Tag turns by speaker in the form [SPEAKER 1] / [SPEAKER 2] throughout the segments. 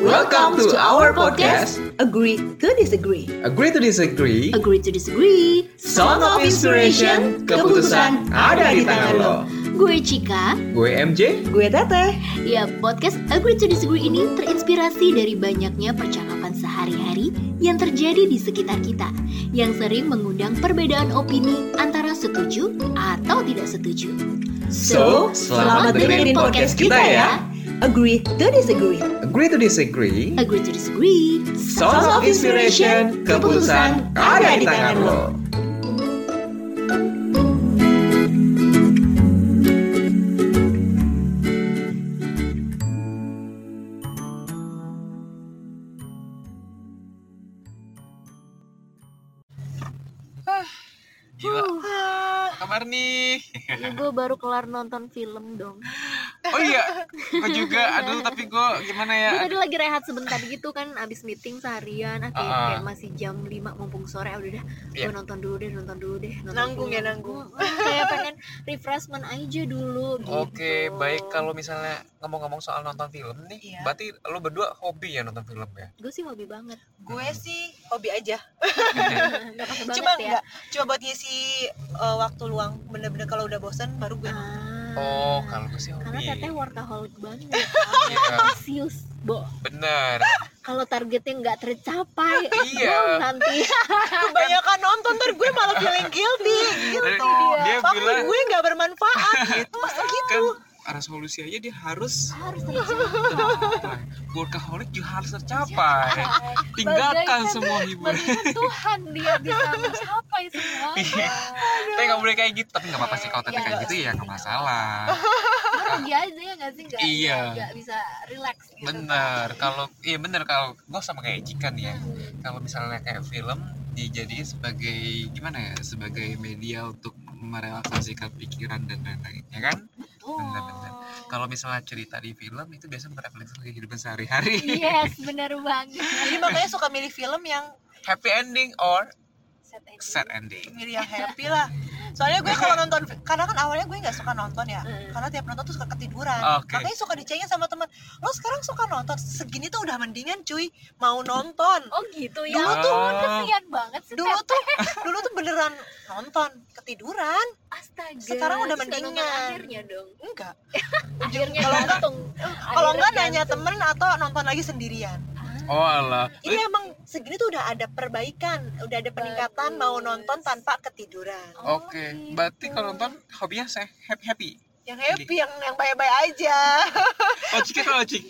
[SPEAKER 1] Welcome to our podcast.
[SPEAKER 2] Agree to disagree.
[SPEAKER 1] Agree to disagree.
[SPEAKER 2] Agree to disagree.
[SPEAKER 1] Song of Inspiration. Keputusan ada di tangan lo.
[SPEAKER 3] Gue Cika.
[SPEAKER 1] Gue MJ.
[SPEAKER 2] Gue Teteh.
[SPEAKER 3] Ya, podcast Agree to Disagree ini terinspirasi dari banyaknya percakapan sehari-hari yang terjadi di sekitar kita yang sering mengundang perbedaan opini antara setuju atau tidak setuju.
[SPEAKER 1] So, selamat dengerin podcast kita ya.
[SPEAKER 2] Agree to disagree.
[SPEAKER 1] Agree to disagree.
[SPEAKER 3] Agree to Disagree.
[SPEAKER 1] Song of Inspiration. Keputusan ada di tangan lo.
[SPEAKER 4] Gila. Kabar nih.
[SPEAKER 3] Gue baru kelar nonton film dong.
[SPEAKER 4] Oh iya, gue juga. Aduh, tapi gue gimana ya?
[SPEAKER 3] Gue tadi lagi rehat sebentar gitu kan abis meeting seharian ah, kayak,
[SPEAKER 4] Ah.
[SPEAKER 3] kayak masih jam 5 mumpung sore ah, udah dah
[SPEAKER 4] Iya.
[SPEAKER 3] gue nonton dulu deh nonton dulu deh nonton
[SPEAKER 5] Nanggung
[SPEAKER 3] dulu.
[SPEAKER 5] ya, nanggung.
[SPEAKER 3] Mm, mm, kayak pengen refreshment aja dulu gitu.
[SPEAKER 4] Oke, baik kalau misalnya ngomong-ngomong soal nonton film nih,
[SPEAKER 5] Iya.
[SPEAKER 4] berarti lo berdua hobi ya nonton film ya?
[SPEAKER 3] gue sih hobi banget Nah,
[SPEAKER 5] gue sih hobi aja
[SPEAKER 3] nggak pas banget
[SPEAKER 5] cuma
[SPEAKER 3] ya
[SPEAKER 5] enggak cuma buat ngisi uh, waktu luang bener-bener kalau udah bosen baru gue
[SPEAKER 3] Ah,
[SPEAKER 6] Hmm.
[SPEAKER 4] Oh, kalau gue sih
[SPEAKER 3] karena
[SPEAKER 4] hobi.
[SPEAKER 3] teteh workaholic banget
[SPEAKER 4] Iya,
[SPEAKER 3] ambisius bo
[SPEAKER 4] bener.
[SPEAKER 3] kalau targetnya nggak tercapai
[SPEAKER 4] Iya.
[SPEAKER 3] down nanti
[SPEAKER 5] kebanyakan kan nonton ntar gue malah feeling guilty
[SPEAKER 4] Dan
[SPEAKER 5] gitu
[SPEAKER 4] dia
[SPEAKER 5] Tapi
[SPEAKER 4] bilang
[SPEAKER 5] gue nggak bermanfaat gitu
[SPEAKER 4] kan resolusi aja dia harus
[SPEAKER 3] harus tercapai
[SPEAKER 4] tercapai. Workaholic juga harus tercapai. Tinggalkan
[SPEAKER 6] Bagaikan-
[SPEAKER 4] semua hiburan.
[SPEAKER 6] Bagaikan Tuhan dia bisa mencapai semua.
[SPEAKER 4] Iya. Tapi nggak boleh kayak gitu. Tapi nggak apa-apa sih kalau teteh
[SPEAKER 6] Iya,
[SPEAKER 4] kayak
[SPEAKER 6] nggak
[SPEAKER 4] gitu ya nggak masalah.
[SPEAKER 6] Rugi aja ya nggak sih nggak
[SPEAKER 4] Iya.
[SPEAKER 6] nggak bisa relax gitu.
[SPEAKER 4] bener kalau iya bener kalau gue sama kayak Cikan ya
[SPEAKER 6] Hmm.
[SPEAKER 4] kalau misalnya kayak film dijadiin sebagai gimana ya sebagai media untuk merelaksasikan pikiran dan lain-lain ya kan
[SPEAKER 6] Betul.
[SPEAKER 4] Bener, bener. kalau misalnya cerita di film itu biasa merefleksikan kehidupan sehari-hari
[SPEAKER 6] Yes, bener banget.
[SPEAKER 5] jadi makanya suka milih film yang
[SPEAKER 4] happy ending or
[SPEAKER 6] Set aja.
[SPEAKER 4] sad ending
[SPEAKER 5] milih yang happy lah soalnya gue kalau nonton karena kan awalnya gue nggak suka nonton ya
[SPEAKER 6] Eh,
[SPEAKER 5] karena tiap nonton tuh suka ketiduran
[SPEAKER 4] Oke.
[SPEAKER 5] makanya suka dicengin sama teman lo sekarang suka nonton segini tuh udah mendingan cuy mau nonton
[SPEAKER 6] Oh gitu ya.
[SPEAKER 5] Dulu
[SPEAKER 4] tuh-
[SPEAKER 6] ampun, kesian banget sih.
[SPEAKER 5] dulu tuh dulu tuh beneran nonton ketiduran
[SPEAKER 6] Astaga.
[SPEAKER 5] sekarang udah
[SPEAKER 6] bisa nonton
[SPEAKER 5] mendingan.
[SPEAKER 6] Akhirnya dong.
[SPEAKER 5] enggak
[SPEAKER 6] Akhirnya
[SPEAKER 5] Kalau nggak-
[SPEAKER 6] gantung.
[SPEAKER 5] kalau
[SPEAKER 6] Akhirnya
[SPEAKER 5] enggak nanya
[SPEAKER 6] gantung.
[SPEAKER 5] temen atau nonton lagi sendirian
[SPEAKER 4] oh lah
[SPEAKER 5] ini emang segini tuh udah ada perbaikan udah ada peningkatan mau
[SPEAKER 6] Bagus.
[SPEAKER 5] nonton tanpa ketiduran
[SPEAKER 6] Oh,
[SPEAKER 4] oke
[SPEAKER 6] gitu.
[SPEAKER 4] berarti kalau nonton hobinya saya happy happy
[SPEAKER 5] yang happy yang yang baik-baik aja
[SPEAKER 4] oh Cikan kalau Cik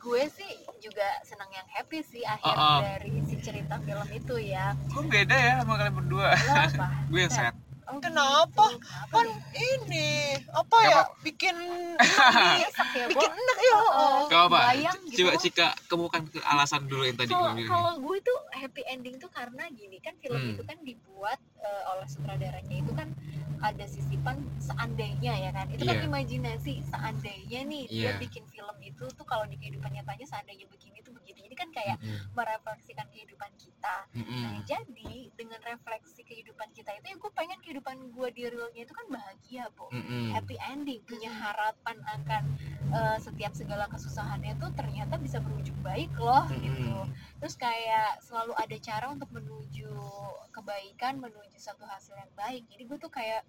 [SPEAKER 6] gue sih juga senang yang happy sih akhir
[SPEAKER 4] Uh-uh.
[SPEAKER 6] dari si cerita film itu ya.
[SPEAKER 4] gue beda ya sama kalian berdua
[SPEAKER 6] Lo apa?
[SPEAKER 4] gue yang sad
[SPEAKER 6] Oh,
[SPEAKER 5] Kenapa?
[SPEAKER 6] gitu. Kenapa
[SPEAKER 5] kan
[SPEAKER 6] nih?
[SPEAKER 5] ini apa ya bikin Eh,
[SPEAKER 6] Nyesek ya, Bo?
[SPEAKER 5] bikin enak ya
[SPEAKER 6] Uh-uh.
[SPEAKER 4] Gak apa,
[SPEAKER 6] Bayang gitu.
[SPEAKER 4] coba Cika kemukan ke alasan dulu yang tadi gue
[SPEAKER 6] kalau
[SPEAKER 4] bilang ya.
[SPEAKER 6] kalau gue tuh happy ending tuh karena gini kan film
[SPEAKER 4] Hmm.
[SPEAKER 6] itu kan dibuat eh, oleh sutradaranya itu kan ada sisipan seandainya ya kan itu
[SPEAKER 4] Iya.
[SPEAKER 6] kan imajinasi seandainya nih
[SPEAKER 4] Iya.
[SPEAKER 6] dia bikin film itu tuh kalau di kehidupan nyatanya seandainya begini tuh begitu jadi kan kayak
[SPEAKER 4] Hmm.
[SPEAKER 6] merefleksikan kehidupan kita Nah, jadi dengan refleksi kehidupan kita itu ya gue pengen kehidupan gue di realnya itu kan bahagia po
[SPEAKER 4] Hmm.
[SPEAKER 6] happy ending punya harapan akan eh, setiap segala kesusahannya tuh ternyata bisa berujung baik loh gitu
[SPEAKER 4] Hmm.
[SPEAKER 6] terus kayak selalu ada cara untuk menuju kebaikan menuju satu hasil yang baik jadi gue tuh kayak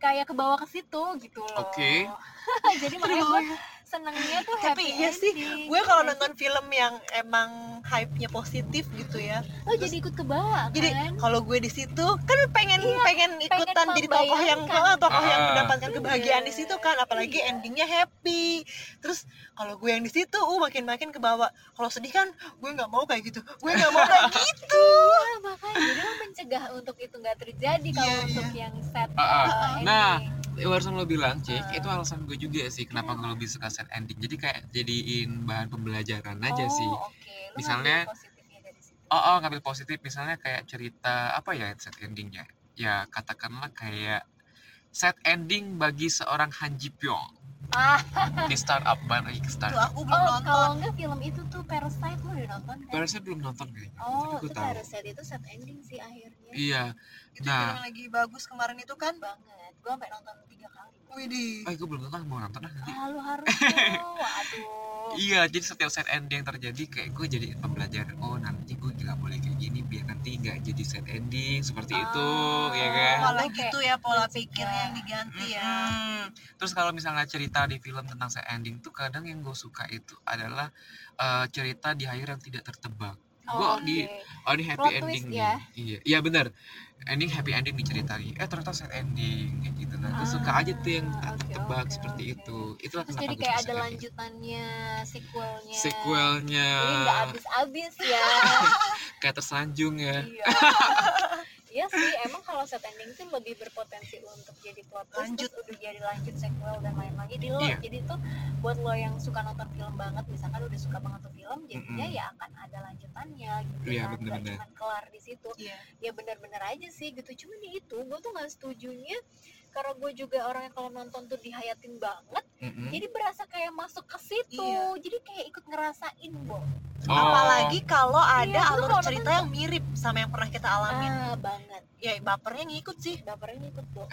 [SPEAKER 6] kayak kebawa ke situ gitu loh
[SPEAKER 4] Oke.
[SPEAKER 6] jadi makanya gue senengnya tuh
[SPEAKER 5] ya? Tapi
[SPEAKER 6] happy
[SPEAKER 5] iya sih,
[SPEAKER 6] ending. gitu.
[SPEAKER 5] gue kalau nonton film yang emang hype-nya positif gitu ya
[SPEAKER 6] lo Oh, jadi ikut kebawa
[SPEAKER 5] jadi
[SPEAKER 6] kan
[SPEAKER 5] kalau gue di situ kan pengen pengen ikutan jadi
[SPEAKER 6] Iya,
[SPEAKER 5] tokoh
[SPEAKER 6] membayangkan.
[SPEAKER 5] yang ah, tokoh yang
[SPEAKER 4] Ah.
[SPEAKER 5] mendapatkan kebahagiaan di
[SPEAKER 6] Bener.
[SPEAKER 5] situ kan apalagi
[SPEAKER 6] Iya.
[SPEAKER 5] endingnya happy terus kalau gue yang di situ uh makin makin ke bawah kalau sedih kan gue nggak mau kayak gitu gue nggak mau kayak gitu
[SPEAKER 6] Nah, makanya jadi lo mencegah untuk itu nggak terjadi kalau
[SPEAKER 5] Iya,
[SPEAKER 6] untuk yang set
[SPEAKER 4] Ah, ah.
[SPEAKER 6] uh,
[SPEAKER 4] Nah,
[SPEAKER 6] ending.
[SPEAKER 4] Barusan lo bilang,
[SPEAKER 6] Ah.
[SPEAKER 4] Cik, itu alasan gue juga sih kenapa
[SPEAKER 6] Hmm.
[SPEAKER 4] gue lebih suka sad ending. Jadi kayak jadiin bahan pembelajaran aja
[SPEAKER 6] Oh,
[SPEAKER 4] sih.
[SPEAKER 6] oke. Lo
[SPEAKER 4] Misalnya,
[SPEAKER 6] ngambil positifnya dari situ.
[SPEAKER 4] Oh, oh, ngambil positif. Misalnya kayak cerita apa ya sad endingnya? Ya katakanlah kayak sad ending bagi seorang Han Ji Pyong.
[SPEAKER 6] Ah,
[SPEAKER 4] di startup balik lagi ke
[SPEAKER 5] Tuh
[SPEAKER 4] startup
[SPEAKER 5] aku belum
[SPEAKER 6] oh
[SPEAKER 5] nonton.
[SPEAKER 6] kalau enggak film itu tuh Parasite lu udah nonton kan?
[SPEAKER 4] Barusan belum nonton kayaknya
[SPEAKER 6] Oh,
[SPEAKER 4] tapi
[SPEAKER 6] itu
[SPEAKER 4] gue tahu
[SPEAKER 6] Parasite itu sad ending sih akhirnya.
[SPEAKER 4] iya
[SPEAKER 5] Itu
[SPEAKER 4] Nah.
[SPEAKER 5] film yang lagi bagus kemarin itu kan.
[SPEAKER 6] Banget. Gua sampai nonton tiga kali.
[SPEAKER 5] Widih.
[SPEAKER 4] oh gue belum nonton mau nonton ah nanti
[SPEAKER 6] Ah, lu harus dong. Waduh.
[SPEAKER 4] Iya, jadi setiap set ending yang terjadi kayak gue jadi pembelajaran. Oh, nanti gue nggak boleh kayak gini biar nanti nggak jadi set ending seperti itu, ya kan?
[SPEAKER 6] Ah,
[SPEAKER 5] Malah
[SPEAKER 6] oke.
[SPEAKER 5] gitu ya pola
[SPEAKER 6] Mencegah.
[SPEAKER 5] pikirnya yang diganti
[SPEAKER 6] Iya.
[SPEAKER 5] ya.
[SPEAKER 4] Mm-mm. Terus kalau misalnya cerita di film tentang set ending tuh kadang yang gue suka itu adalah eh, cerita di akhir yang tidak tertebak. Gue
[SPEAKER 6] Oh,
[SPEAKER 4] di
[SPEAKER 6] oke.
[SPEAKER 4] oh ini happy
[SPEAKER 6] Plot twist
[SPEAKER 4] ending nih.
[SPEAKER 6] ya.
[SPEAKER 4] Iya, iya benar. Ending happy ending nih cerita nih. Eh ternyata set ending kayak gitu. Nah, gue suka aja tuh yang tak
[SPEAKER 6] Ah, oke,
[SPEAKER 4] tertebak
[SPEAKER 6] oke,
[SPEAKER 4] seperti
[SPEAKER 6] oke.
[SPEAKER 4] itu. Itulah
[SPEAKER 6] Terus
[SPEAKER 4] kenapa
[SPEAKER 6] jadi
[SPEAKER 4] gua
[SPEAKER 6] kayak
[SPEAKER 4] suka gitu?
[SPEAKER 6] ada
[SPEAKER 4] set ending.
[SPEAKER 6] lanjutannya, sequelnya.
[SPEAKER 4] Sequelnya
[SPEAKER 6] Jadi nggak abis-abis ya.
[SPEAKER 4] kayak tersanjung ya.
[SPEAKER 6] Iya. Iya sih, emang kalau set ending tuh lebih berpotensi untuk jadi plot twist,
[SPEAKER 5] Lanjut.
[SPEAKER 6] terus udah jadi lanjut sequel dan lain-lain. Jadi lo,
[SPEAKER 4] Iya.
[SPEAKER 6] jadi tuh buat lo yang suka nonton film banget, misalkan udah suka banget tuh film, jadinya ya akan ada lanjutannya gitu
[SPEAKER 4] Iya,
[SPEAKER 6] kan, Nggak
[SPEAKER 4] bener-bener.
[SPEAKER 6] cuman kelar di situ.
[SPEAKER 5] Iya.
[SPEAKER 6] Ya bener-bener aja sih gitu, cuman ya itu, gue tuh nggak setujunya karena gue juga orang yang kalau nonton tuh dihayatin banget,
[SPEAKER 4] Mm-mm.
[SPEAKER 6] jadi berasa kayak masuk ke situ,
[SPEAKER 5] Iya.
[SPEAKER 6] jadi kayak ikut ngerasain, Bo.
[SPEAKER 4] Oh,
[SPEAKER 5] Apalagi kalau ada
[SPEAKER 6] Iya, lu
[SPEAKER 5] alur
[SPEAKER 6] kalau
[SPEAKER 5] cerita yang mirip sama yang pernah kita alamin.
[SPEAKER 6] Ah, banget.
[SPEAKER 5] Ya bapernya ngikut sih.
[SPEAKER 6] bapernya ikut dong.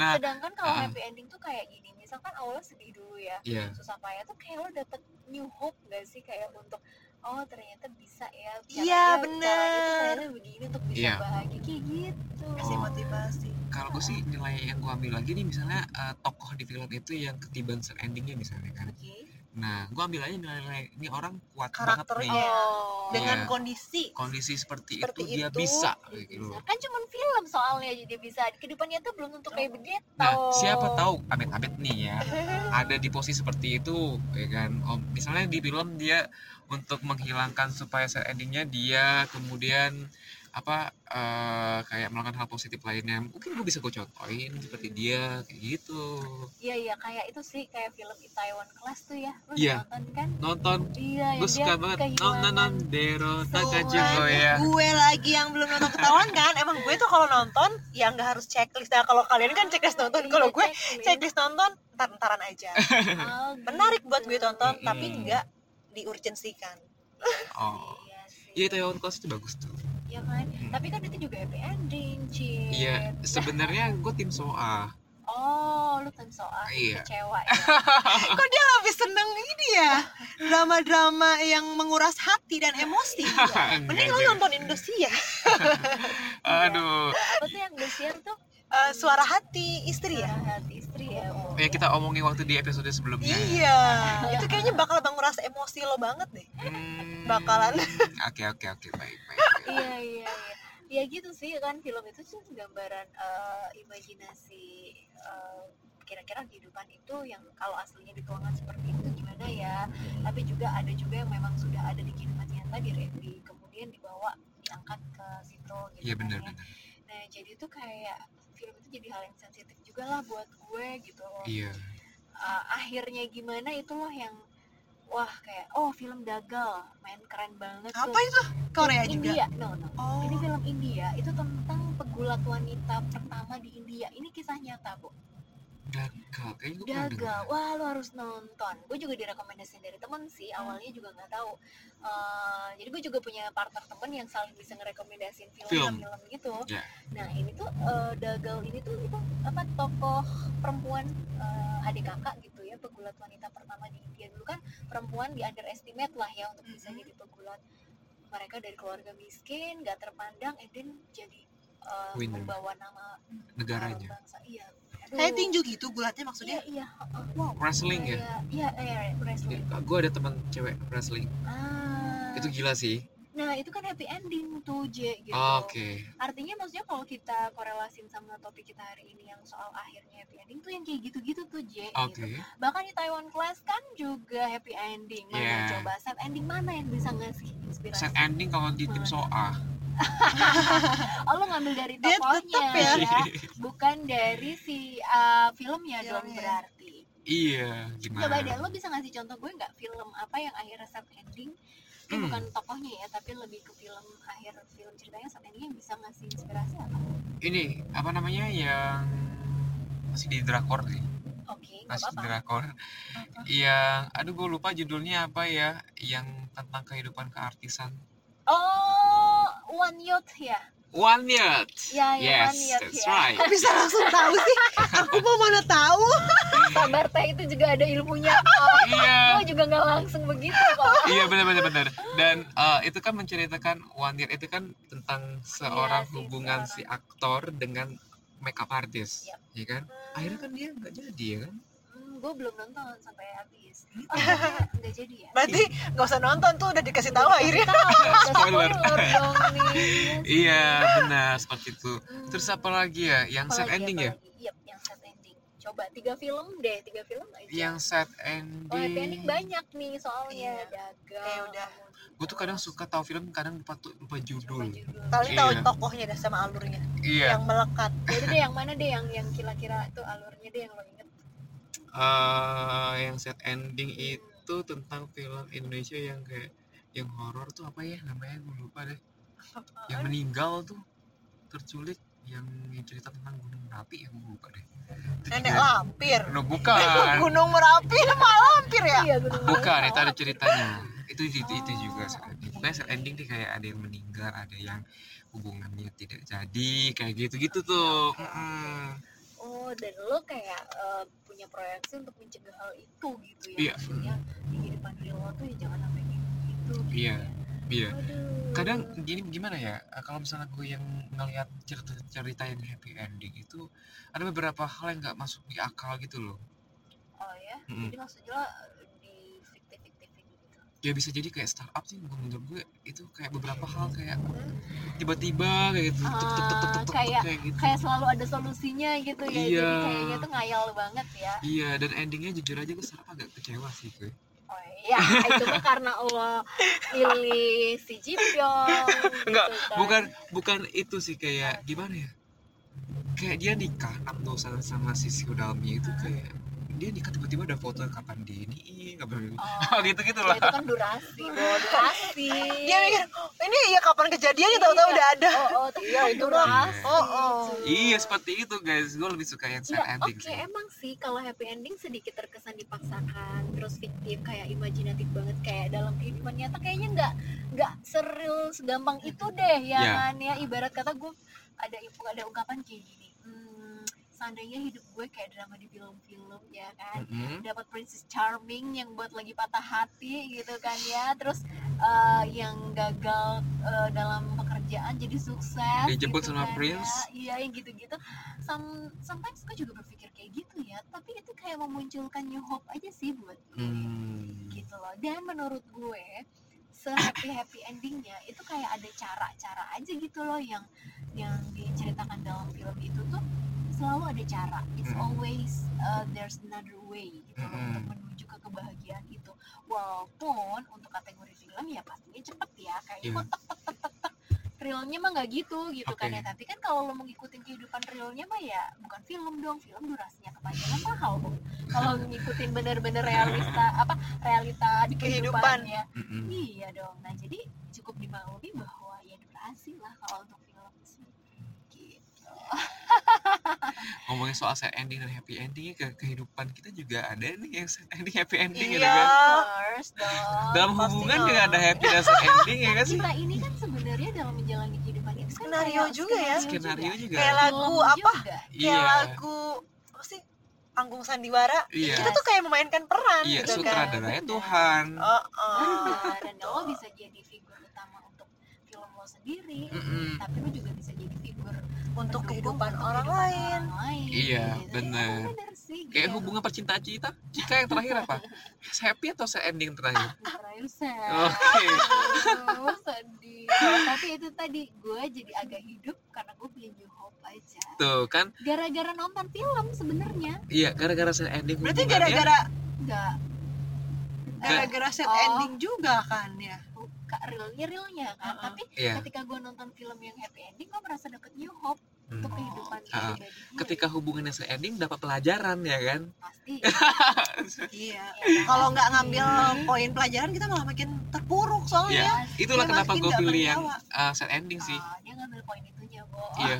[SPEAKER 4] Nah,
[SPEAKER 6] Sedangkan kalau
[SPEAKER 4] uh-uh.
[SPEAKER 6] happy ending tuh kayak gini, misalkan awalnya sedih dulu ya,
[SPEAKER 4] Iya.
[SPEAKER 6] susah payah tuh kayak lo dapet new hope gak sih kayak untuk oh ternyata bisa ya,
[SPEAKER 5] Iya,
[SPEAKER 6] caranya-
[SPEAKER 5] bener.
[SPEAKER 6] caranya tuh ternyata begini untuk bisa
[SPEAKER 4] Iya.
[SPEAKER 6] bahagia kayak gitu.
[SPEAKER 5] Kasih
[SPEAKER 4] Oh.
[SPEAKER 5] motivasi.
[SPEAKER 4] Kalau gue sih nilai yang gue ambil lagi nih misalnya eh, tokoh di film itu yang ketiban set endingnya misalnya kan.
[SPEAKER 6] Oke.
[SPEAKER 4] Nah, gue ambil aja nilai-nilai ini orang kuat banget
[SPEAKER 5] Karakternya.
[SPEAKER 4] nih.
[SPEAKER 6] Oh.
[SPEAKER 5] Dengan
[SPEAKER 4] Iya.
[SPEAKER 5] kondisi
[SPEAKER 4] Kondisi seperti,
[SPEAKER 6] Seperti
[SPEAKER 4] itu, dia
[SPEAKER 6] itu,
[SPEAKER 4] bisa
[SPEAKER 6] dia
[SPEAKER 4] kayak gitu.
[SPEAKER 6] bisa. Kan cuman film soalnya jadi bisa. Kehidupannya tuh belum tentu kayak begitu.
[SPEAKER 4] Nah, siapa tahu abet-abet nih ya ada di posisi seperti itu ya kan. Om, misalnya di film dia untuk menghilangkan supaya set endingnya dia kemudian apa eh, kayak melakukan hal positif lainnya mungkin gue bisa gue contohin seperti dia kayak gitu
[SPEAKER 6] Iya iya kayak itu sih kayak film Itaewon Class tuh ya. Lu udah
[SPEAKER 4] Iya.
[SPEAKER 6] nonton kan?
[SPEAKER 4] nonton
[SPEAKER 6] Iya, yang
[SPEAKER 4] gue
[SPEAKER 6] dia
[SPEAKER 4] suka banget non non non
[SPEAKER 6] kehilangan
[SPEAKER 4] dero takaji ya
[SPEAKER 5] Tuhan, kan, eh, gue lagi yang belum nonton ketahuan kan emang gue tuh kalau nonton ya nggak harus checklist nah kalau kalian kan checklist nonton kalau
[SPEAKER 6] Iya,
[SPEAKER 5] gue checklist nonton ntar ntaran aja menarik buat gue tonton tapi
[SPEAKER 4] Mm-mm.
[SPEAKER 5] nggak diurgensikan
[SPEAKER 4] oh
[SPEAKER 6] Iya sih.
[SPEAKER 4] iya Taiwan Class itu bagus tuh
[SPEAKER 6] Iya kan? Tapi kan itu juga happy ending, Cid.
[SPEAKER 4] iya sebenarnya gue tim soa
[SPEAKER 6] Oh, lu kan soal
[SPEAKER 4] Iya.
[SPEAKER 6] kecewa ya.
[SPEAKER 5] kok dia lebih seneng ini ya drama-drama yang menguras hati dan emosi
[SPEAKER 4] Enggak
[SPEAKER 5] mending lu
[SPEAKER 4] juga.
[SPEAKER 5] nonton Indonesia
[SPEAKER 4] aduh
[SPEAKER 6] Apa tuh yang lu share tuh?
[SPEAKER 5] Eh, suara hati istri ya
[SPEAKER 6] Suara hati istri ya. Oh.
[SPEAKER 4] ya kita omongin waktu di episode sebelumnya
[SPEAKER 5] iya itu kayaknya bakal menguras emosi lo banget deh
[SPEAKER 4] Hmm,
[SPEAKER 5] Bakalan.
[SPEAKER 4] oke oke oke baik baik, baik.
[SPEAKER 6] Iya, iya, iya. Ya gitu sih kan film itu tuh gambaran eh, imajinasi eh, kira-kira kehidupan itu yang kalau aslinya dituangkan seperti itu gimana ya. Tapi juga ada juga yang memang sudah ada di kehidupan nyata di Randy. Kemudian dibawa diangkat ke situ gitu.
[SPEAKER 4] iya
[SPEAKER 6] kan
[SPEAKER 4] benar
[SPEAKER 6] ya.
[SPEAKER 4] benar
[SPEAKER 6] Nah, jadi itu kayak film itu jadi hal yang sensitif juga lah buat gue gitu loh.
[SPEAKER 4] iya
[SPEAKER 6] Uh, akhirnya gimana itu loh yang wah kayak oh film dagal main keren banget tuh.
[SPEAKER 5] apa itu Korea
[SPEAKER 6] Film
[SPEAKER 5] juga
[SPEAKER 6] India no no
[SPEAKER 5] oh
[SPEAKER 6] ini film India itu tentang pegulat wanita pertama di India ini kisah nyata bu
[SPEAKER 4] dagal kayaknya gue pernah dengar
[SPEAKER 6] dagal wah lo harus nonton gue juga direkomendasiin dari temen sih
[SPEAKER 4] Hmm.
[SPEAKER 6] awalnya juga nggak tahu Eh, jadi gue juga punya partner temen yang saling bisa ngerekomendasiin
[SPEAKER 4] Film.
[SPEAKER 6] film-film gitu
[SPEAKER 4] Ya.
[SPEAKER 6] nah ini tuh eh, dagal ini tuh itu apa tokoh perempuan eh, adik kakak gitu ya pegulat wanita pertama di India dulu kan perempuan di underestimate lah ya untuk bisa
[SPEAKER 4] Hmm.
[SPEAKER 5] Mhm.
[SPEAKER 6] jadi pegulat mereka dari keluarga miskin nggak terpandang and then jadi eh,
[SPEAKER 4] Winner.
[SPEAKER 6] membawa nama eh,
[SPEAKER 4] negaranya
[SPEAKER 6] bangsa iya
[SPEAKER 5] kayak
[SPEAKER 6] Aduh.
[SPEAKER 5] tinju gitu bulatnya maksudnya
[SPEAKER 6] Iya, iya.
[SPEAKER 4] wrestling ya
[SPEAKER 6] Iya, iya, wrestling.
[SPEAKER 4] gue ada teman cewek wrestling
[SPEAKER 6] Ah.
[SPEAKER 4] itu gila sih
[SPEAKER 6] Nah, itu kan happy ending tuh, J gitu.
[SPEAKER 4] Ah, oke
[SPEAKER 6] Artinya maksudnya kalau kita korelasin sama topik kita hari ini yang soal akhirnya happy ending tuh yang kayak gitu-gitu tuh, J
[SPEAKER 4] oke
[SPEAKER 6] gitu. Bahkan di Taiwan Class kan juga happy ending. Mana
[SPEAKER 4] Yeah.
[SPEAKER 6] coba set ending mana yang bisa ngasih inspirasi?
[SPEAKER 4] Iya. set ending kalau di tim soa
[SPEAKER 6] Oh, lo ngambil dari
[SPEAKER 5] Dia
[SPEAKER 6] tokohnya
[SPEAKER 5] tetep ya.
[SPEAKER 4] Iya.
[SPEAKER 6] Bukan dari si uh, filmnya dong
[SPEAKER 5] Filmnya.
[SPEAKER 6] berarti.
[SPEAKER 4] iya gimana
[SPEAKER 6] Coba deh, lo bisa ngasih contoh gue nggak film apa yang akhirnya set ending? Ini
[SPEAKER 4] Hmm.
[SPEAKER 6] bukan tokohnya ya, tapi lebih ke film akhir film ceritanya set ending yang bisa ngasih inspirasi apa?
[SPEAKER 4] ini apa namanya yang masih di drakor nih
[SPEAKER 6] Oke,
[SPEAKER 4] masuk
[SPEAKER 6] apa-apa.
[SPEAKER 4] drakor yang aduh gue lupa judulnya apa ya yang tentang kehidupan keartisan
[SPEAKER 6] Oh, One Youth ya?
[SPEAKER 4] One Yacht
[SPEAKER 6] Ya, ya,
[SPEAKER 4] yes
[SPEAKER 6] One Youth
[SPEAKER 4] that's
[SPEAKER 6] ya.
[SPEAKER 4] right
[SPEAKER 5] Kok bisa langsung tahu sih? Aku mau mana tahu?
[SPEAKER 6] Sabar teh itu juga ada ilmunya.
[SPEAKER 4] iya
[SPEAKER 6] Gue juga nggak langsung begitu kok.
[SPEAKER 4] iya benar benar benar dan eh, itu kan menceritakan One Year itu kan tentang seorang
[SPEAKER 6] Iya sih,
[SPEAKER 4] hubungan si
[SPEAKER 6] seorang. Iya.
[SPEAKER 4] aktor dengan makeup artist
[SPEAKER 6] Yap.
[SPEAKER 4] ya kan akhirnya kan dia nggak jadi ya kan
[SPEAKER 6] Hmm, gue belum nonton sampai habis. Oh,
[SPEAKER 4] Gitu.
[SPEAKER 6] iya, nggak jadi ya?
[SPEAKER 5] Berarti nggak usah nonton tuh udah dikasih tahu akhirnya.
[SPEAKER 4] Spoiler.
[SPEAKER 6] Spoiler dong nih.
[SPEAKER 4] iya benar seperti itu terus apa lagi ya yang
[SPEAKER 6] Apalagi,
[SPEAKER 4] sad ending ya
[SPEAKER 6] apalagi? Iya, yang sad ending. Coba tiga film deh, tiga film aja.
[SPEAKER 4] yang sad
[SPEAKER 6] Oh, happy ending
[SPEAKER 4] ending
[SPEAKER 6] banyak nih soalnya
[SPEAKER 5] Iya.
[SPEAKER 6] dagang.
[SPEAKER 5] Ya udah.
[SPEAKER 4] gue tuh kadang suka tahu film kadang lupa tuh lupa judul
[SPEAKER 5] Kalian tahu
[SPEAKER 4] Iya.
[SPEAKER 5] tokohnya dah sama alurnya
[SPEAKER 4] iya
[SPEAKER 5] yang melekat.
[SPEAKER 6] Jadi ya deh yang mana deh yang yang kira-kira tuh alurnya deh yang lo inget.
[SPEAKER 4] eh, yang sad ending itu tentang film Indonesia yang kayak yang horor tuh apa ya namanya gue lupa deh yang meninggal tuh terculik yang cerita tentang gunung merapi yang gue lupa deh Itu
[SPEAKER 5] Nenek
[SPEAKER 4] juga-
[SPEAKER 5] lampir.
[SPEAKER 4] no, bukan
[SPEAKER 5] Gunung Merapi sama lampir ya?
[SPEAKER 6] Iya, gunung
[SPEAKER 4] bukan
[SPEAKER 6] Merapi.
[SPEAKER 4] itu ada ceritanya itu itu, itu juga
[SPEAKER 6] Oh,
[SPEAKER 4] sad ending
[SPEAKER 6] oke.
[SPEAKER 4] Pokoknya sad ending tuh kayak ada yang meninggal ada yang hubungannya tidak jadi kayak gitu gitu tuh Mm-mm.
[SPEAKER 6] Oh, dan lo kayak eh, punya proyeksi untuk mencegah hal itu gitu
[SPEAKER 4] Iya.
[SPEAKER 6] ya. Maksudnya di kehidupan real lo tuh ya jangan sampai kayak gitu. gitu
[SPEAKER 4] Iya.
[SPEAKER 6] ya.
[SPEAKER 4] iya
[SPEAKER 6] Aduh.
[SPEAKER 4] kadang gini gimana ya eh, kalau misalnya gue yang ngelihat cerita cerita yang happy ending itu ada beberapa hal yang nggak masuk di akal gitu loh
[SPEAKER 6] Oh ya.
[SPEAKER 4] Mm-mm.
[SPEAKER 6] Jadi maksudnya lo di fiktif-fiktifin gitu.
[SPEAKER 4] ya bisa jadi kayak startup sih menurut menurut gue itu kayak beberapa hal kayak tiba-tiba kayak gitu tuk, tuk, tuk, tuk, tuk, tuk,
[SPEAKER 6] kayak-
[SPEAKER 4] kayak gitu
[SPEAKER 6] Kayak selalu ada solusinya gitu ya.
[SPEAKER 4] Iya.
[SPEAKER 6] Jadi kayaknya tuh ngayal banget ya.
[SPEAKER 4] iya dan endingnya jujur aja gue startup agak kecewa sih gue
[SPEAKER 6] Oh iya, itu mah karena lo milih si Jipyong.
[SPEAKER 4] Enggak,
[SPEAKER 6] gitu kan.
[SPEAKER 4] bukan bukan itu sih kayak gimana ya kayak dia nikah Abdosan sama si Siodalmi itu kayak dia nikah tiba-tiba ada foto kapan di ini kapan
[SPEAKER 6] Oh,
[SPEAKER 4] gitu gitu
[SPEAKER 6] ya
[SPEAKER 4] lah
[SPEAKER 6] itu kan durasi, Bo, durasi.
[SPEAKER 5] Dia mikir, "Oh, ini ya kapan kejadiannya tahu-tahu udah ada.
[SPEAKER 6] Oh, oh, tapi kan
[SPEAKER 5] itu
[SPEAKER 4] doang.
[SPEAKER 6] durasi.
[SPEAKER 5] Iya, Oh, oh.
[SPEAKER 6] cuy.
[SPEAKER 4] Iya seperti itu guys, gue lebih suka yang
[SPEAKER 6] Iya,
[SPEAKER 4] sad ending
[SPEAKER 6] Oke,
[SPEAKER 4] sih.
[SPEAKER 6] emang sih kalau happy ending sedikit terkesan dipaksakan, terus fiktif kayak imajinatif banget kayak dalam kehidupan nyata kayaknya nggak nggak seril segampang itu deh ya
[SPEAKER 4] Ya.
[SPEAKER 6] kan ya ibarat kata gue ada ada ungkapan kayak gini. Hmm, seandainya hidup gue kayak drama di film-film ya kan
[SPEAKER 4] Mm-mm.
[SPEAKER 6] dapat Princess Charming yang buat lagi patah hati gitu kan ya terus eh, yang gagal eh, dalam pekerjaan jadi sukses
[SPEAKER 4] Dijemput sama
[SPEAKER 6] kan
[SPEAKER 4] Prince.
[SPEAKER 6] ya. iya yang gitu-gitu Some, sometimes gue juga berpikir kayak gitu ya tapi itu kayak memunculkan new hope aja sih buat gue
[SPEAKER 4] Hmm.
[SPEAKER 6] gitu loh dan menurut gue se happy happy endingnya itu kayak ada cara-cara aja gitu loh yang yang diceritakan dalam film itu tuh selalu ada cara it's
[SPEAKER 4] Mm.
[SPEAKER 6] always uh, there's another way gitu loh
[SPEAKER 4] Mm-mm.
[SPEAKER 6] untuk menuju ke kebahagiaan itu walaupun untuk kategori film ya pastinya cepet ya kayaknya
[SPEAKER 4] Iya.
[SPEAKER 6] kok tek tek tek tek tek realnya mah nggak gitu gitu kan
[SPEAKER 4] Oke.
[SPEAKER 6] ya tapi kan kalau lo mau ngikutin kehidupan realnya mah ya bukan film dong film durasinya kepanjangan mahal Bo. kalau ngikutin bener-bener realista apa realita di
[SPEAKER 5] Kehidupan.
[SPEAKER 6] kehidupannya
[SPEAKER 4] Mm-mm.
[SPEAKER 6] iya dong nah jadi cukup dimaklumi bahwa ya durasi lah kalau untuk film sih gitu
[SPEAKER 4] Ngomongin soal sad ending dan happy ending ke kehidupan kita juga ada nih yang sad ending happy ending gitu kan.
[SPEAKER 5] Iya.
[SPEAKER 6] First dong
[SPEAKER 4] Dalam
[SPEAKER 5] pasti
[SPEAKER 4] hubungan
[SPEAKER 5] dong. Iya,
[SPEAKER 4] juga ada happy dan sad ending ya kan sih?
[SPEAKER 6] kita ini kan sebenarnya dalam menjalani kehidupan itu kan
[SPEAKER 5] Skenario
[SPEAKER 6] kayak
[SPEAKER 5] juga ya.
[SPEAKER 4] Skenario juga.
[SPEAKER 5] Kayak
[SPEAKER 6] Film
[SPEAKER 5] lagu apa?
[SPEAKER 6] juga.
[SPEAKER 5] Kayak
[SPEAKER 4] Iya.
[SPEAKER 5] lagu apa sih? Anggung Sandiwara.
[SPEAKER 4] Iya.
[SPEAKER 5] Kita tuh kayak memainkan peran
[SPEAKER 4] Iya,
[SPEAKER 5] gitu kan.
[SPEAKER 4] sutradaranya Tuhan.
[SPEAKER 5] Oh,
[SPEAKER 6] Benar, dan lo bisa jadi figur utama untuk film lo sendiri
[SPEAKER 4] Mm-mm.
[SPEAKER 6] tapi lo juga bisa jadi figur
[SPEAKER 5] untuk
[SPEAKER 6] pendukung
[SPEAKER 5] kehidupan
[SPEAKER 6] untuk
[SPEAKER 5] orang
[SPEAKER 6] kehidupan
[SPEAKER 5] lain.
[SPEAKER 6] orang lain,
[SPEAKER 4] Iya,
[SPEAKER 6] gitu.
[SPEAKER 4] bener.
[SPEAKER 6] Iya, bener sih,
[SPEAKER 4] Kayak
[SPEAKER 6] gitu.
[SPEAKER 4] hubungan percintaan cita, jika yang terakhir apa? happy atau sad ending terakhir?
[SPEAKER 6] Terakhir, Sel.
[SPEAKER 4] Oke.
[SPEAKER 6] Aduh, sedih. Tapi itu tadi gue jadi agak hidup karena gue punya new hope aja.
[SPEAKER 4] Tuh kan,
[SPEAKER 6] Gara-gara nonton film sebenarnya
[SPEAKER 4] iya gara-gara sad ending
[SPEAKER 5] Berarti
[SPEAKER 4] hubungannya-
[SPEAKER 5] gara-gara
[SPEAKER 6] nggak
[SPEAKER 4] ya?
[SPEAKER 5] gara-gara set
[SPEAKER 6] Oh.
[SPEAKER 5] ending juga kan ya.
[SPEAKER 6] buka realnya realnya kan.
[SPEAKER 5] Uh-uh.
[SPEAKER 6] Tapi
[SPEAKER 4] Iya.
[SPEAKER 6] ketika gue nonton film yang happy ending, gue merasa dapet new hope
[SPEAKER 4] Hmm.
[SPEAKER 6] untuk kehidupan
[SPEAKER 4] Ah.
[SPEAKER 6] pribadi Iya, gue.
[SPEAKER 4] Ketika hubungannya sad ending dapat pelajaran ya kan?
[SPEAKER 6] pasti.
[SPEAKER 5] Iya.
[SPEAKER 6] ya,
[SPEAKER 5] Kalau nggak
[SPEAKER 6] pasti.
[SPEAKER 5] ngambil poin pelajaran kita malah makin terpuruk
[SPEAKER 4] Iya.
[SPEAKER 5] soalnya.
[SPEAKER 4] Itulah
[SPEAKER 5] Dia
[SPEAKER 4] kenapa
[SPEAKER 5] makin
[SPEAKER 4] gue
[SPEAKER 5] nggak
[SPEAKER 4] pilih yang
[SPEAKER 5] bernyawa.
[SPEAKER 4] uh, sad ending sih.
[SPEAKER 6] Ah, dia ngambil poin itunya, Bo.
[SPEAKER 4] Iya,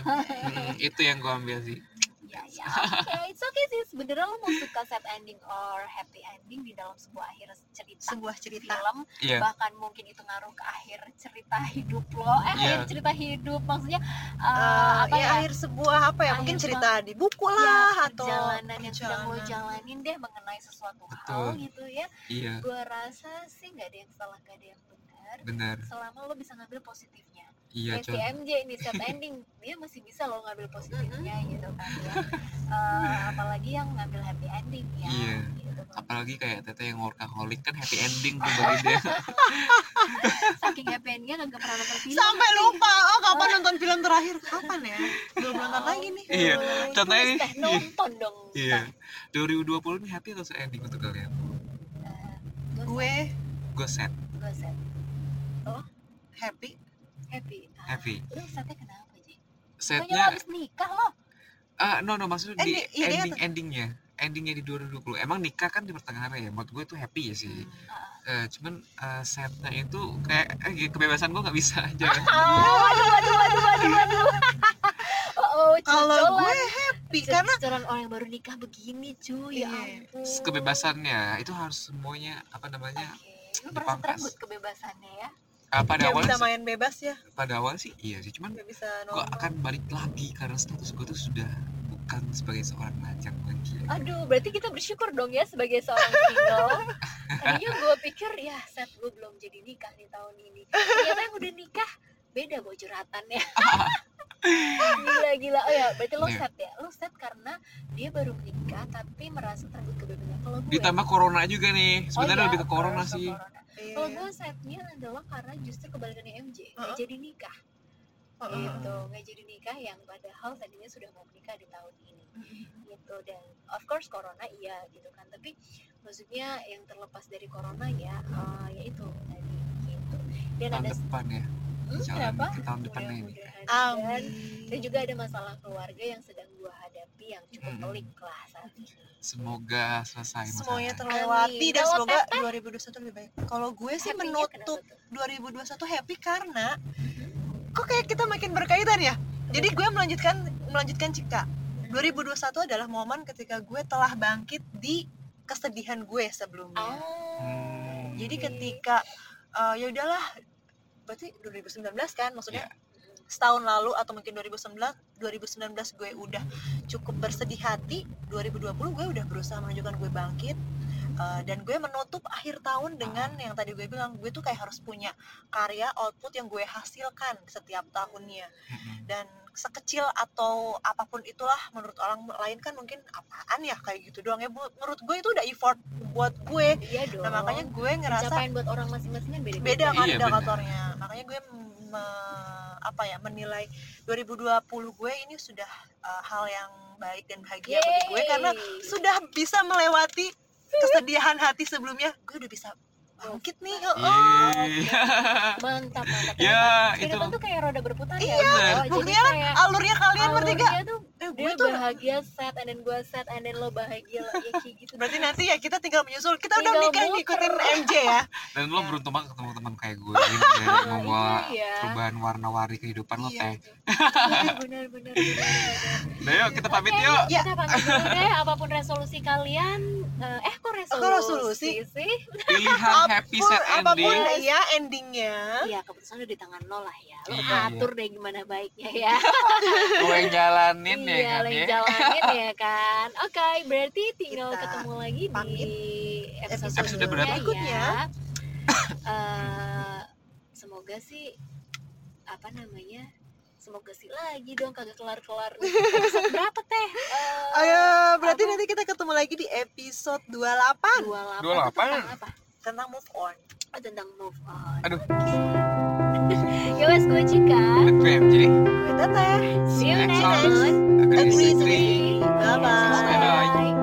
[SPEAKER 4] Mm, itu yang gue ambil sih.
[SPEAKER 6] Ya, Ya, oke, it's okay sih. Sebenarnya lo mau suka sad ending or happy ending di dalam sebuah akhir cerita
[SPEAKER 5] sebuah cerita
[SPEAKER 6] film
[SPEAKER 4] Iya.
[SPEAKER 6] bahkan mungkin itu ngaruh ke akhir cerita hidup lo eh akhir
[SPEAKER 4] Iya.
[SPEAKER 6] cerita hidup maksudnya eh,
[SPEAKER 5] Eh,
[SPEAKER 6] apa
[SPEAKER 5] ya,
[SPEAKER 6] ya,
[SPEAKER 5] akhir sebuah apa ya mungkin
[SPEAKER 6] Akhir
[SPEAKER 5] cerita di buku
[SPEAKER 6] ya,
[SPEAKER 5] lah atau
[SPEAKER 6] perjalanan yang sedang lo
[SPEAKER 5] perjalanan.
[SPEAKER 6] jalanin deh mengenai sesuatu hal
[SPEAKER 4] Betul.
[SPEAKER 6] gitu ya
[SPEAKER 4] Iya,
[SPEAKER 6] gue rasa sih nggak ada yang salah nggak ada yang benar
[SPEAKER 4] benar.
[SPEAKER 6] selama lo bisa ngambil positifnya
[SPEAKER 4] Iya,
[SPEAKER 6] Kayak si
[SPEAKER 4] Con.
[SPEAKER 6] MJ ini set ending dia masih bisa lo ngambil positifnya gitu kan ya Eh, apalagi yang ngambil happy ending ya
[SPEAKER 4] Iya.
[SPEAKER 6] gitu.
[SPEAKER 4] Apalagi kayak Tete yang workaholic kan happy ending tuh bagi dia.
[SPEAKER 6] saking happy endingnya nggak pernah nonton film
[SPEAKER 5] sampai lupa oh kapan nonton film terakhir kapan ya belum nonton lagi nih
[SPEAKER 4] Iya.
[SPEAKER 6] Aduh, itu
[SPEAKER 4] Contohnya ini.
[SPEAKER 6] teh nonton dong
[SPEAKER 4] Iya. 2020 ini happy atau sad ending untuk kalian?
[SPEAKER 5] gue
[SPEAKER 4] Gue sad,
[SPEAKER 6] gue set
[SPEAKER 5] happy
[SPEAKER 6] happy Ah,
[SPEAKER 4] happy.
[SPEAKER 6] lu setnya kenapa sih Pokoknya lo
[SPEAKER 4] Sadnya,
[SPEAKER 6] abis nikah lo
[SPEAKER 4] ah no no maksudnya di
[SPEAKER 5] Ending- iya, iya,
[SPEAKER 4] ending endingnya, endingnya di 2020. Emang nikah kan di pertengahannya ya. Buat gue itu happy ya sih. Eh, cuman eh, sadnya itu kayak eh, kebebasan gue nggak bisa aja.
[SPEAKER 5] Ah,
[SPEAKER 6] oh, aduh aduh aduh aduh aduh oh, oh
[SPEAKER 5] kalau gue
[SPEAKER 6] cucolan.
[SPEAKER 5] happy karena
[SPEAKER 6] Cucolan orang yang baru nikah begini cuy
[SPEAKER 5] Iya.
[SPEAKER 6] ya ampun
[SPEAKER 4] Kebebasannya itu harus semuanya apa namanya?
[SPEAKER 6] Oke, lu merasa
[SPEAKER 4] Dipangkas.
[SPEAKER 6] terenggut kebebasannya ya
[SPEAKER 4] Ah, pada
[SPEAKER 5] gak
[SPEAKER 4] awal
[SPEAKER 5] bisa
[SPEAKER 4] sih-
[SPEAKER 5] main bebas ya
[SPEAKER 4] pada awal sih iya sih. Cuman
[SPEAKER 5] gak bisa
[SPEAKER 4] gue
[SPEAKER 5] nonton Iya.
[SPEAKER 4] akan balik lagi karena status gue tuh sudah bukan sebagai seorang lajang lagi ya.
[SPEAKER 6] Aduh, berarti kita bersyukur dong ya sebagai seorang single. Tadinya gue pikir ya, set gue belum jadi nikah di tahun ini. Ternyata yang udah nikah beda bawa curhatan ya. gila gila. Oh ya, berarti lo
[SPEAKER 4] Iya.
[SPEAKER 6] set ya. Lo set karena dia baru menikah tapi merasa tergut kebebasan. Kalau gue
[SPEAKER 4] ditambah corona juga nih
[SPEAKER 6] Oh
[SPEAKER 4] Iya, sebenarnya
[SPEAKER 6] iya,
[SPEAKER 4] lebih ke corona
[SPEAKER 6] harus ke
[SPEAKER 4] sih
[SPEAKER 6] corona.
[SPEAKER 5] Iya.
[SPEAKER 6] Kalau gue setnya adalah karena justru kebalikannya MJ, nggak
[SPEAKER 5] Heeh.
[SPEAKER 6] jadi nikah
[SPEAKER 5] Heeh.
[SPEAKER 6] gitu nggak jadi nikah yang padahal tadinya sudah mau menikah di tahun ini gitu dan of course corona iya gitu kan tapi maksudnya yang terlepas dari corona ya eh, ya itu tadi gitu dan
[SPEAKER 4] tahun
[SPEAKER 6] ada
[SPEAKER 4] depan ya
[SPEAKER 6] Hmm,
[SPEAKER 4] jalan
[SPEAKER 6] kenapa Iya,
[SPEAKER 4] ke tahun depannya ini.
[SPEAKER 6] Mudah-mudahan. dan, dan
[SPEAKER 5] amin
[SPEAKER 6] juga ada masalah keluarga yang sedang gua hadapi yang cukup
[SPEAKER 4] Mm-mm.
[SPEAKER 6] pelik lah saat ini
[SPEAKER 4] semoga selesai
[SPEAKER 5] semuanya
[SPEAKER 4] masalahnya.
[SPEAKER 5] terlewati
[SPEAKER 6] Amin.
[SPEAKER 5] dan
[SPEAKER 6] Kalau
[SPEAKER 5] semoga 2021 lebih baik kalau gue sih
[SPEAKER 6] Happy-nya
[SPEAKER 5] menutup
[SPEAKER 6] kenapa tuh?
[SPEAKER 5] 2021 happy karena kok kayak kita makin berkaitan ya jadi gue melanjutkan melanjutkan Cika 2021 adalah momen ketika gue telah bangkit di kesedihan gue
[SPEAKER 6] Iya.
[SPEAKER 5] sebelumnya
[SPEAKER 4] Hmm.
[SPEAKER 6] Oh,
[SPEAKER 5] jadi
[SPEAKER 6] oke.
[SPEAKER 5] ketika eh, ya udahlah berarti 2019 kan maksudnya
[SPEAKER 6] Mm.
[SPEAKER 5] setahun lalu atau mungkin 2019 2019 gue udah cukup bersedih hati 2020 gue udah berusaha menunjukkan gue bangkit eh, dan gue menutup akhir tahun dengan yang tadi gue bilang gue tuh kayak harus punya karya output yang gue hasilkan setiap tahunnya
[SPEAKER 4] Mm-mm.
[SPEAKER 5] dan sekecil atau apapun itulah menurut orang lain kan mungkin apaan ya kayak gitu doang ya Bu- menurut gue itu udah effort buat gue
[SPEAKER 6] iya dong
[SPEAKER 5] nah makanya gue ngerasa
[SPEAKER 6] pencapaian buat orang masing-masing kan beda
[SPEAKER 5] beda kan
[SPEAKER 4] Iya,
[SPEAKER 5] indikatornya makanya gue me- apa ya menilai 2020 gue ini sudah uh, hal yang baik dan bahagia bagi Iya, gue karena sudah bisa melewati kesedihan hati sebelumnya gue udah bisa bangkit nih oh, oh.
[SPEAKER 6] Iya.
[SPEAKER 4] Yeay.
[SPEAKER 6] mantap mantap
[SPEAKER 4] ya itu
[SPEAKER 6] kehidupan tuh kayak roda berputar ya
[SPEAKER 4] Iya,
[SPEAKER 6] Oh, jadi
[SPEAKER 5] buktinya
[SPEAKER 6] kayak
[SPEAKER 5] alurnya kalian bertiga
[SPEAKER 6] alurnya tuh
[SPEAKER 5] eh,
[SPEAKER 6] dia
[SPEAKER 5] gue tuh
[SPEAKER 6] bahagia set and then gue set and then lo bahagia lah ya kayak gitu
[SPEAKER 5] berarti nanti ya kita tinggal menyusul kita udah
[SPEAKER 6] Tinggal
[SPEAKER 5] nikah
[SPEAKER 6] muter.
[SPEAKER 5] ngikutin MJ ya
[SPEAKER 4] dan lo beruntung banget ketemu teman kayak gue gitu ya, yang membawa
[SPEAKER 6] iya.
[SPEAKER 4] perubahan warna-warni kehidupan lo
[SPEAKER 5] Iya.
[SPEAKER 4] teh
[SPEAKER 6] benar benar benar benar
[SPEAKER 4] nah yuk kita pamit yuk
[SPEAKER 5] Ya.
[SPEAKER 6] kita pamit dulu deh apapun resolusi kalian eh eh, kok resolusi,
[SPEAKER 5] resolusi?
[SPEAKER 6] sih
[SPEAKER 4] pilihan happy
[SPEAKER 5] Apapun-
[SPEAKER 4] set
[SPEAKER 5] apapun
[SPEAKER 4] ending
[SPEAKER 5] ya endingnya
[SPEAKER 6] Iya keputusan udah di tangan lo lah ya Lo
[SPEAKER 4] Iya,
[SPEAKER 6] atur deh gimana baiknya ya
[SPEAKER 4] gue yang jalanin ya
[SPEAKER 6] Iya,
[SPEAKER 4] kan
[SPEAKER 6] lo
[SPEAKER 4] ya
[SPEAKER 6] yang jalanin ya kan Oke berarti tinggal
[SPEAKER 5] Kita
[SPEAKER 6] ketemu lagi
[SPEAKER 5] pamit.
[SPEAKER 6] di episode,
[SPEAKER 5] Episode
[SPEAKER 6] berikutnya
[SPEAKER 4] berapa?
[SPEAKER 5] Berikutnya.
[SPEAKER 6] ya. Eh, semoga sih apa namanya Semoga sih lagi dong kagak kelar-kelar nih. Episode berapa teh? Eh,
[SPEAKER 5] Ayo, berarti
[SPEAKER 6] apa?
[SPEAKER 5] nanti kita ketemu lagi di episode 28
[SPEAKER 4] Dua delapan. ya?
[SPEAKER 6] 28, tentang apa?
[SPEAKER 5] tentang move on.
[SPEAKER 6] Oh, tentang move on
[SPEAKER 4] Aduh.
[SPEAKER 6] Ya wes gue Cika
[SPEAKER 4] Gue MJ
[SPEAKER 5] Gue Teteh.
[SPEAKER 6] See you
[SPEAKER 4] Next
[SPEAKER 6] next
[SPEAKER 4] time.
[SPEAKER 6] on
[SPEAKER 4] Agree,
[SPEAKER 5] Agree,
[SPEAKER 4] disagree.
[SPEAKER 5] Bye-bye.
[SPEAKER 6] Bye.